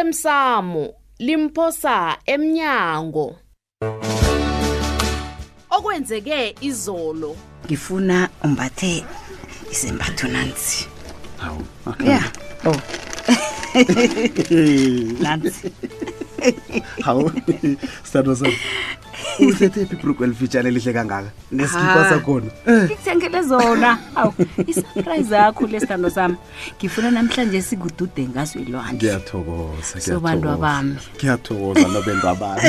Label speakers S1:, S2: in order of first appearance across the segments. S1: osemsamo limphosa emnyango okwenzeke izolo
S2: ngifuna umbathe izembatho nansi
S3: hawu
S2: ya
S4: Mm.
S2: oh nansi
S3: hawu sithandwa sam uthethephi ibruku elifitshane lihle kangaka nesikipa
S2: Ah.
S3: sakhona
S4: Eh.
S2: ngikuthengele zona awu isurprise yakho lesithando sami ngifuna namhlanje sikudude ngaso ilwandle
S3: ngiyathokoza
S2: Sobantu
S3: ngiyathokoza.
S2: abami.
S3: ngiyathokoza nobentu abami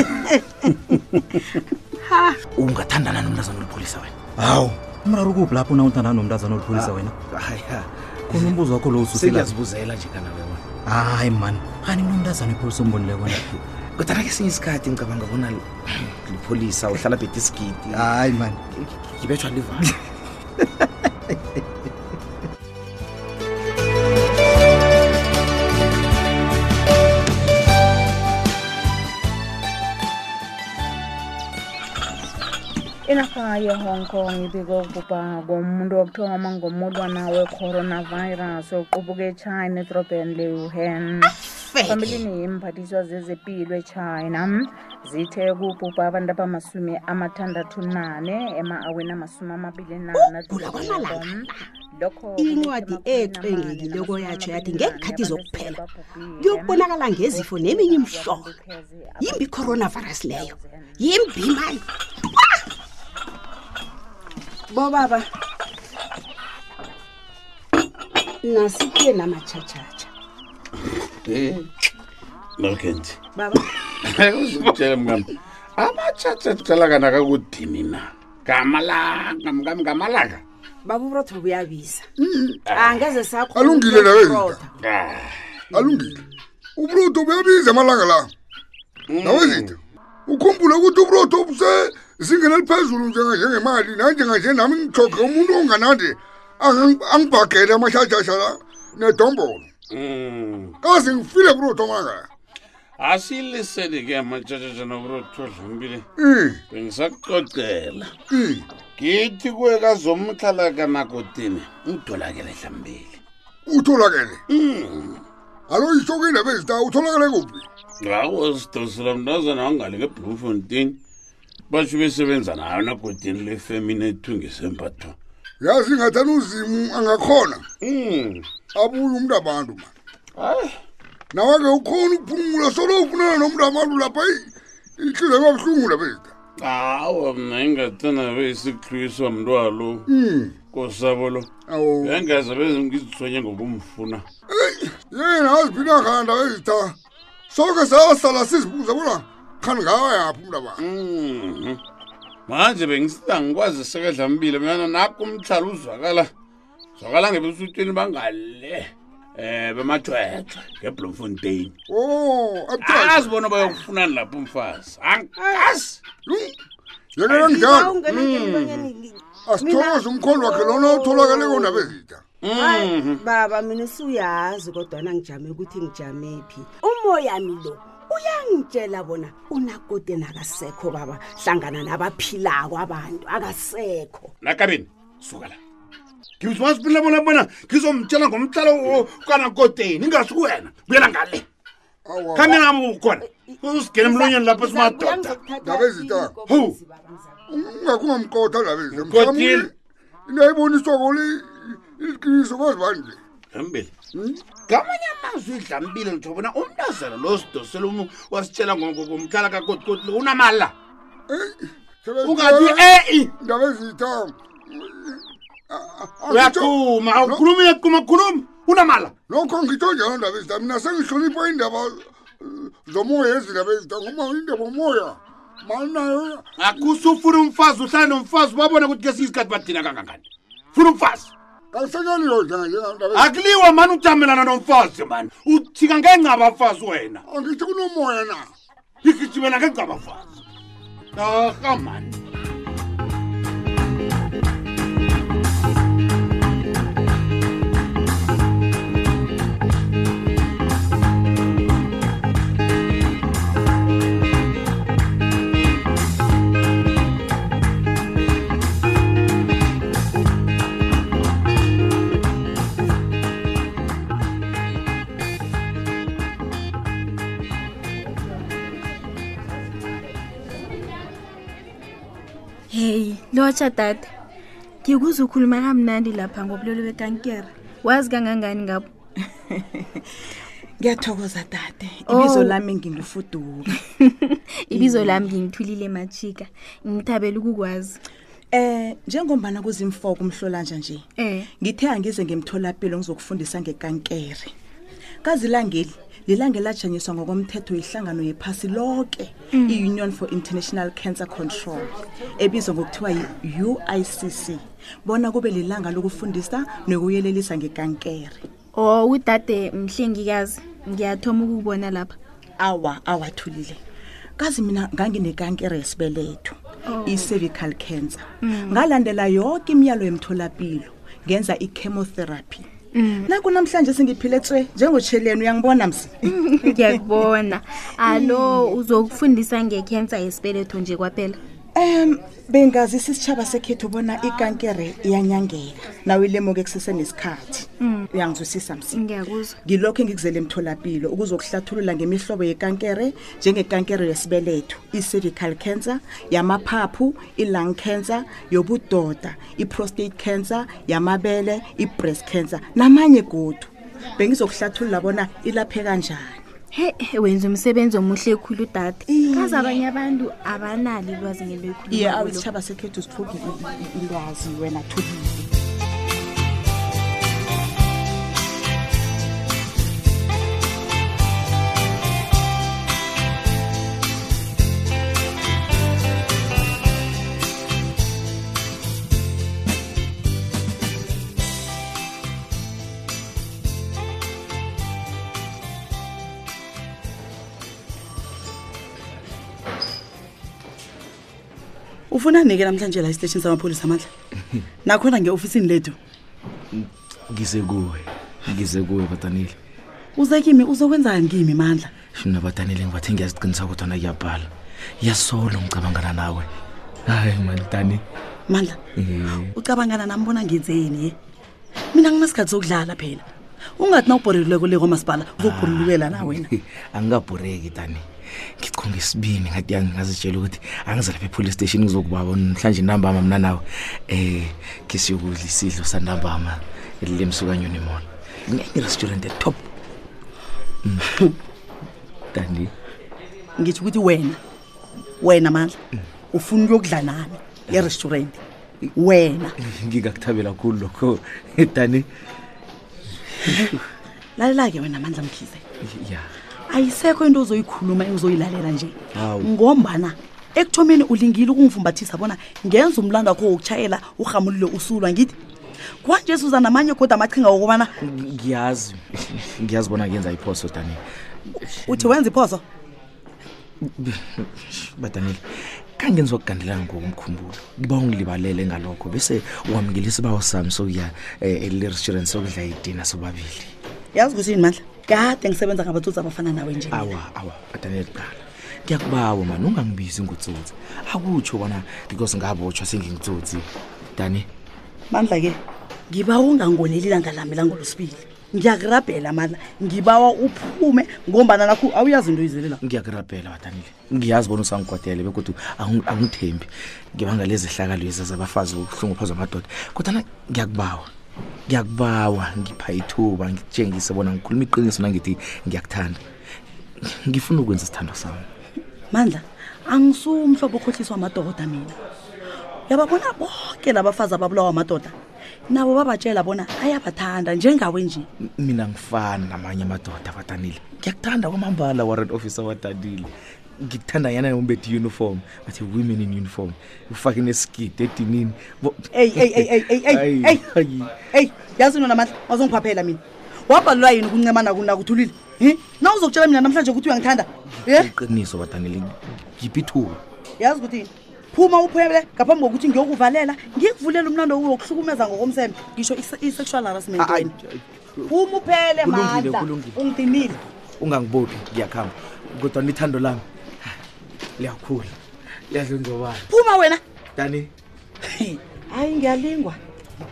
S3: ungathandana nomntazana olipholisa wena
S5: hawu umraro kuphi lapho na uthandana nomntazana olipholisa wena
S3: haya
S5: khona umbuzo wakho lo ususela
S3: sengiyazibuzela nje kanawe wena
S5: hayi mani khani mina umntazana ipholisa umbonile wena
S3: kodwana kesinye isikhathi ngicabanga bona li- lipholisa uhlala bhede isigidi
S5: hayi mani
S3: ngibethwa livalo
S6: inarha ye-hong kong ibike ukuba ngomuntu wokuthoma ngomulwana we-coronavirus oqubuka echina edrobheni le-wuhan phambilini yimphathiswa zezempilo echina zithe kubhubha abantu abamasumi amathandathu nane ema-aweni amasumi amabili nana lokho
S4: Incwadi ecwengekileko yatsho yathi ngeenkhathi zokuphela kuyokubonakala ngezifo neminye imihlobo yimbi coronavirus leyo yimbi mani bobaba nasikuye namatshatshatsha
S7: nokhenje
S4: baba
S7: uzitshele mngam amatshatsha kuqalakana kakudini na ngamalanga mngam ngamalanga
S4: baba uburotho buyabiza Mm. angeze sakho
S8: Alungile nawe, Rita.
S7: Ah,
S8: alungile ubrodo buyabiza amalanga la nawe zitha ukhumbule ukuthi ubrodo busezingeni eliphezulu njenganjengemali nanjenganje nami ngithoge umuntu onganandi angang- angibhagele amashajasha la nedombolo
S7: mm.
S8: kaze ngifile brodo amalanga la
S7: asiliseli ke amatshatshatsha nokurothodlumbile
S8: Mm,
S7: bengisakucocela
S8: mm.
S7: ngithi kuwe kazomhlalakanakotini ngidolakele hlambili
S8: utholakele alo yisho kuyindaba ezita utholakele kuphi
S7: ngakuzidosela mntazana wangali ngeblue fountain basho besebenza nayo nakotini lefemini ethungisembatho
S8: yazi ngathani uzimu angakhona
S7: Mm.
S8: abuye umntu abantu ma
S7: hayi
S8: nawe-ke ukhona ukuphumula solo ufunana nomntu abantu lapha ihliziyo babuhlungu lapha ezita
S7: hawa mna ingathanda beyisikhluiswa mntwalo kosabo lo
S8: awu
S7: engaze beze ngizithonye ngokumfuna
S8: yena aziphina khanda ezitha soke sasala sizibuza bona khani ngawa yaphi umntabana
S7: Mhm. manje bengisida ngikwazi sekedlambile mna nakho umtlhala uzwakala zwakala ngebesuthweni bangale um bemajwejwe ngeblomfontein
S8: o abuthaka
S7: Ah, azi bona bayokufunani lapho umfazi angazi
S8: Hm? yekela njalo
S7: Mm. Ah,
S4: Mina-
S8: Hm.
S4: Mm.
S8: asithokoze umkholi wakhe lona utholakaleko ndaba ezitha
S4: Hayi, baba mina usuyazi kodwana ngijame ukuthi ngijame phi umoyami lo uyangitshela bona unakude nakasekho baba hlangana nabaphilako abantu akasekho
S7: nakabeni suka la ngithi masiphila bona bona ngizomtshela ngomtlala kanakoteni ingasi kuwena buyela ngale khambe nami ukhona usigele emlonyeni lapho simadoda
S8: Ndaba ezitha.
S7: Hu.
S8: ungakungamkotha ndaba ezitha
S7: Ngikotile.
S8: mhlawumbe into ayiboniswako iliqiniso kwazi bani nje
S7: dlambile ngamanye amazwi idlambile ngitsho bona umntazana lo sidosele um wasitshela ngomtlala kakotikoti lo unamala
S8: Sebenzi-
S7: ungathi ei
S8: ndaba ezitha
S7: uyaquma awukhulumi uyaquma khuluma unamala
S8: lokho ngitsho njalo ndaba ezitha mina sengihlonipha iindaba eh, zomoya ezindaba ezitha ngoba indaba omoya malinayo
S7: akusufuna umfazi uhlale nomfazi ubabona ukuthi kesinye isikhathi badina kangangani funa umfazi
S8: kasekeliyo njenganjengandabe
S7: akuliwa mani utamelana nomfazi mani uthika ngencabafazi wena
S8: angithi kunomoya na
S7: igijimela ngencabafazi aha mani
S9: heyi lotsha tata ngikuze ukhuluma kamnandi lapha ngobulwelo bekankere wazi kangangani ngabo
S10: ngiyathokoza dade ibizo
S9: Oh.
S10: lami ngilufuduka
S9: ibizo lami ngingithulile machika ngithabela ukukwazi
S10: um njengombana kuzimfoko umhlolanja nje
S9: Eh.
S10: ngithe angize ngemtholapilo ngizokufundisa ngekankere kazilangeli lilange lajanyiswa ngokomthetho yihlangano yephasi lonke i-union for international cancer control ebizwa ngokuthiwa yi-uicc bona kube lilanga lokufundisa nokuyelelisa ngekankere
S9: o Oh, udade mhlengikazi ngiyathoma ukukubona lapha
S10: awa awathulile kazi mina nganginekankere yesibeletho i-cervical cancer ngalandela yonke imiyalo yemtholapilo ngenza i-chemotherapy nakunamhlanje singiphile tswe njengotsheleni uyangibona msi
S9: ngiyakubona alo uzokufundisa ngekhensa yesibeletho nje kwaphela
S10: um bengazisa isitshaba sekhethu ubona ikankere iyanyangeka nawe ilemuke kusesenesikhathi uyangizwisisa msi
S9: ngiyakuzwa
S10: ngilokho engikuzele emtholapilo ukuzokuhlathulula ngemihlobo yekankere njengekankere yesibeletho i-cervical cancer yamaphaphu i-lung cancer yobudoda i-prostate cancer yamabele i-breast cancer namanye godu bengizokuhlathulula bona ilapheka njani
S9: he wenza umsebenzi omuhle ekhulu udade kaze abanye abantu abanalo ilwazi ngento
S10: iye
S9: ekhulumakulo.
S10: awusitshaba sekhethu sithuki ilwazi wena thulile
S11: ufuna nike namhlanje la esiteshini samapholisa amandla nakhona nge-ofisini lethu
S3: ngize kuwe ngize kuwe batanile
S11: uze kimi uzokwenzani kimi mandla
S3: shina batanile ngibathe ngiyaziqinisa kodwana kuyabhala yasolo ngicabangana nawe hayi mani tani
S11: mandla
S3: Eh,
S11: ucabangana nami bona ngenzeni ye mina nginasikhathi sokudlala phela ungathi nawubhorerileko le kwamasipala uzokubhorelukela na wena
S3: angingabhureki tani ngichonge sibini ngathi angingazitshela ukuthi angizalapha e-police station ngizokubaba namhlanje nambama mna nawe um ngisiyokudla isidlo sanambama elilemsukanyoni mona ngenye restaurant at top Mm. tani Ah.
S11: ngitsho ukuthi wena wena mandla ufuna ukuyokudla nami erestaurant
S3: Eh.
S11: wena
S3: ngingakuthabela khulu lokho tani
S11: lalela-ke wena mandla mkhize
S3: ya
S11: ayisekho into ozoyikhuluma uzoyilalela nje
S3: Hawu.
S11: ngombana ekuthomeni ulingile ukungivumbathisa bona ngenza umlando wakho wokutshayela urhamulile usulwa ngithi kwanje suza namanye kodwa amachinga wokubana
S3: ngiyazi ngiyazi bona ngenza iphoso tani
S11: uthi wenza iphoso
S3: badanile kangenzi wakugandelanga ngokomkhumbulo ngiba ungilibalele ngalokho bese wamukela isibawo sami sokuya ele-restaurant sokudla idina sobabili
S11: yazi kusini mandla kade ngisebenza ngabatsotsi abafana nawe nje
S3: awa awa badanile qala ngiyakubawa mani ungangibizi ngotsotsi akutsho bona because ngabotshwa sengingitsotsi dani
S11: mandla-ke ngibawa ungangoneli langa lami langolosibili ngiyakurabhela mandla ngibawa uphume ngombana nakho awuyazi into oyizelela
S3: ngiyakurabhela badanile ngiyazi bona usangikwatele bekodwa angi- angithembi ngibanga lezihlakalo lezi zabafazi ukuhlunguphazwa amadoda kodwana ngiyakubawa ngiyakubawa ngipha ithuba ngitshengise bona ngikhuluma iqiniso nangithi ngiyakuthanda ngifuna ukwenza isithando sami
S11: mandla angisumhlobo okhohliswa amadoda mina yababona bonke labafazi ababulawa amadoda nabo babatshela bona ayabathanda njengawe nje
S3: M- mina ngifani namanye amadoda badanile ngiyakuthanda kwamambala warrant officer wadanile ngikuthanda yana nombethe uniform bathi women in uniform ufake nesikidi edinini Bo-
S11: eyi eyi eyi eyi eyi eyi eyi
S3: Ayi.
S11: eyi yazi nona mandla wazongiphaphela mina wabhalelwa yini ukuncemana kunakuthulile um na uzokutshela mina namhlanje ukuthi uyangithanda ye
S3: iqiniso badanile ngiphi ithuba
S11: yazi ukuthi yini phuma uphele ngaphambi kokuthi ngiyokuvalela ngikuvulela umlando wokuhlukumeza ngokomseme ngisho ise- i-sexual harassment wena phuma uphele
S3: Ah, eh, Kulungile,
S11: mandla
S3: kulungile.
S11: ungidinile
S3: ungangibophi ngiyakhamba kodwa nithando lami ha, liyakhula liyadlondlobala
S11: phuma wena
S3: dani
S11: hayi ngiyalingwa Ah,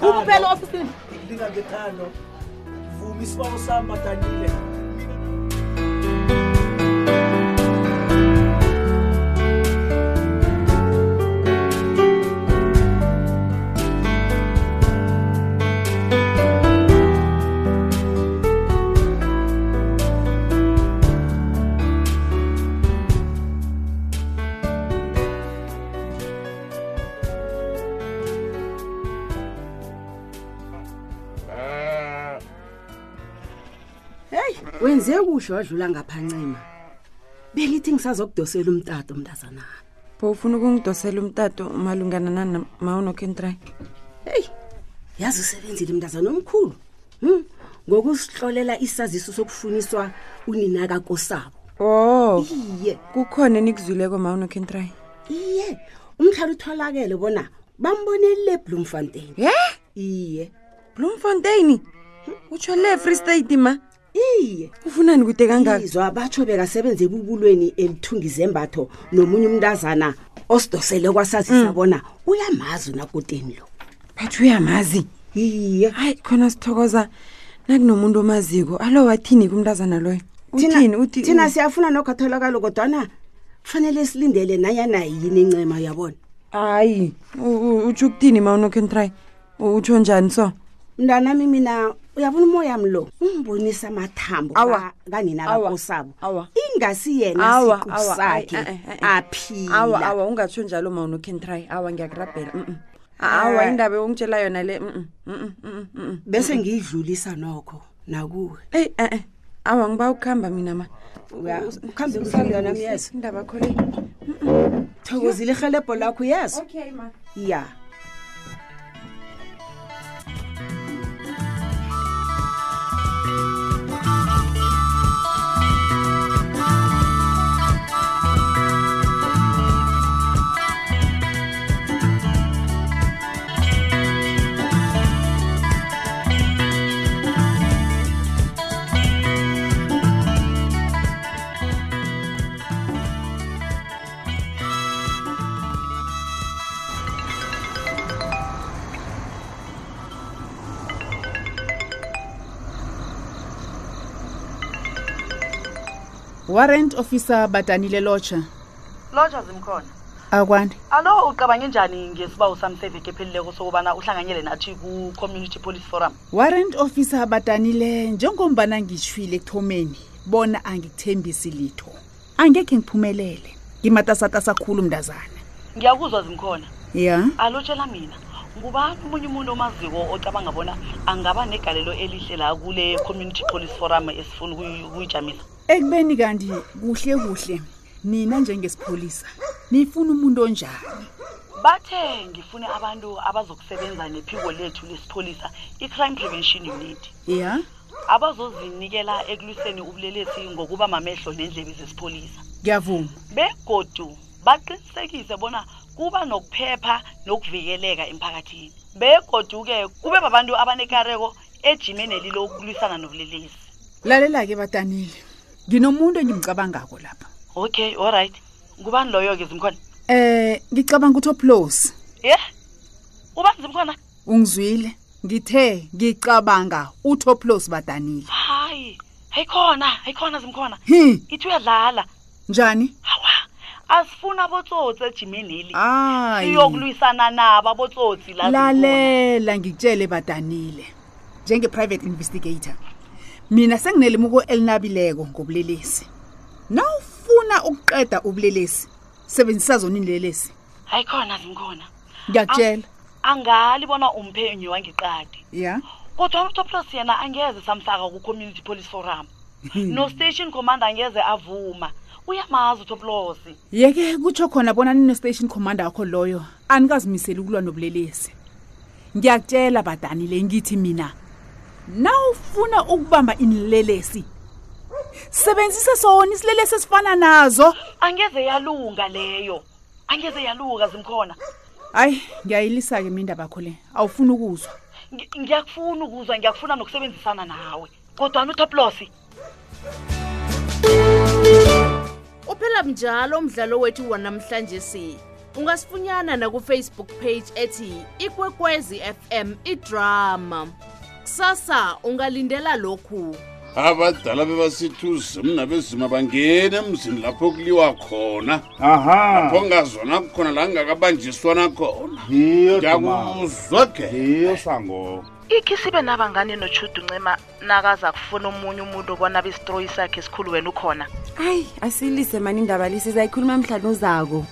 S11: phuma uphele
S3: ningangethando
S11: ofisini
S3: vuma isibawo sami badanile
S4: wenze kuhle wadlula ngaphancema bengithi ngisazokudosela umtato mntazana
S12: bowufuna ukungidosela umtato malungana nani mawunokentry
S4: heyi yazi usebenzile mntazana omkhulu hmm? ngokusihlolela isaziso sokufuniswa uninaka kosabo
S12: o
S4: iye
S12: kukhona enikuzwileko mawunokentry
S4: iye umhlala utholakele bona bambonelile bloemfontein
S12: ye
S4: iye
S12: bloemfontein utsho le free state ma
S4: iye
S12: ufunani kude kangaka
S4: izwa batsho bekasebenza ebubulweni elithunga izembatho nomunye umntazana osidosele
S12: Mm.
S4: kwasazisa bona uyamazi unakuteni lo
S12: bathi uyamazi
S4: iye
S12: hayi khona sithokoza nakunomuntu omaziko alo wathini kumntazana loyo
S4: Thina-
S12: uthini uthi
S4: thina siyafuna nokhatholakalo kodwana kufanele silindele nanyana yini incema uyabona
S12: hayi utsho ukuthini mawunokentry utsho njani so
S4: mntanami mina uyabona umoya mlo umbonisa amathambo
S12: Awa.
S4: ka- kanina
S12: Awa.
S4: kakosabo
S12: Awa.
S4: ingasi yena
S12: awa Eh,
S4: siqu
S12: awa ayi,
S4: sakhe
S12: ayi, ayi, ayi. awa
S4: aphila
S12: awa ungatsho njalo ma unokentry awa ngiyakurabhela mm, mm. awa
S4: Eh.
S12: indaba ongitshela yona le mm, mm, mm, mm,
S4: bese
S12: mm.
S4: ngiyidlulisa nokho nakuwe
S12: eyi e-e awa ngiba ukuhamba mina ma
S4: Uya-
S12: Us-
S4: ukhambe
S12: us-
S4: kuhle yona
S12: us-
S4: myeza.
S12: indaba kho le
S4: thokozile irhelebho lakho uyazo
S12: okay ma
S4: ya
S13: warrant officer badanile lotsha
S11: lotsha zimkhona
S13: akwani
S11: alo ucabange njani ngesibawo sami seveke ephelileko sokubana uhlanganyele nathi ku-community police forum
S13: warrant officer badanile njengombana ngishwile ekuthomeni bona angikuthembisi litho angekhe ngiphumelele ngimatasatasa khulu mntazana
S11: ngiyakuzwa zimkhona
S13: ya
S11: alotshela mina ngubani omunye umuntu omaziko ocabanga bona angaba negalelo elihle la kule community police forum esifuna ukuyi- ukuyijamisa
S13: ekubeni kanti kuhle kuhle nina njengesipholisa nifuna umuntu onjani
S11: bathe ngifune abantu abazokusebenza nephiko lethu lesipholisa i-crime prevention unit
S13: ya
S11: abazozinikela ekulwiseni ubulelesi ngokuba mamehlo nendlebe zesipholisa
S13: ngiyavuma
S11: begodu baqinisekise bona kuba nokuphepha nokuvikeleka emphakathini begodu-ke kube babantu abanekareko ejimeneli lokulwisana nobulelesi
S13: lalela-ke badanile nginomuntu engimcabangako lapha
S11: okay allright ngubani loyo-ke zimkhona
S13: um ngicabanga ukuthi oplos
S11: ye ubani zimkhona
S13: ungizwile ngithe ngicabanga utoplos badanile
S11: hayi hayikhona hayikhona zimkhona
S13: hi
S11: ithi uyadlala
S13: njani
S11: asifuna abotsotsi ejimeneli
S13: hayi
S11: siyokulwisana nabo abotsotsi la
S13: lalela ngikutshele badanile njenge-private investigator mina senginelimuko elinabileko ngobulelesi nawufuna ukuqeda ubulelesi sebenzisa zona inilelesi
S11: hayikhona zimkhona
S13: ngiyakutshela
S11: angali bona umphenyi wangeqadi
S13: ya
S11: kodwa utoplos yena angeze samfaka ku-community police forum
S13: Hmm.
S11: no-station commander angeze avuma uyamazi utoplos
S13: yeke kutsho khona bona ninestation commander wakho loyo anikazimiseli ukulwa nobulelesi ngiyakutshela badanile ngithi mina nawufuna ukubamba inilelesi sebenzisa sona isilelesi esifana nazo
S11: angeze yalunga leyo angeze yaluka zimkhona
S13: hayi ngiyayilisa-ke mina indaba yakho le awufuni ukuzwa
S11: Ngi- ngiyakufuna ukuzwa ngiyakufuna nokusebenzisana nawe kodwana utoplos
S1: uphela mnjalo umdlalo wethu wanamhlanje si ungasifunyana nakufacebook page ethi ikwekwezi fm idrama kusasa ungalindela lokhu
S7: abadala bebasithuze mna bezima bangena emzini lapho kuliwa khona
S14: Aha.
S7: lapho ngazwana khona la ngingakabanjiswana khona
S14: yiyo
S7: ngiyakuzwa ke
S14: yiyo sangoma
S11: ikhi sibe nabangane nochudu ncema nakaza kufuna omunye umuntu obona bisitroyi sakhe esikhulu wena ukhona
S12: hayi asiyilise mani indaba lisizayikhuluma mhlanu uzako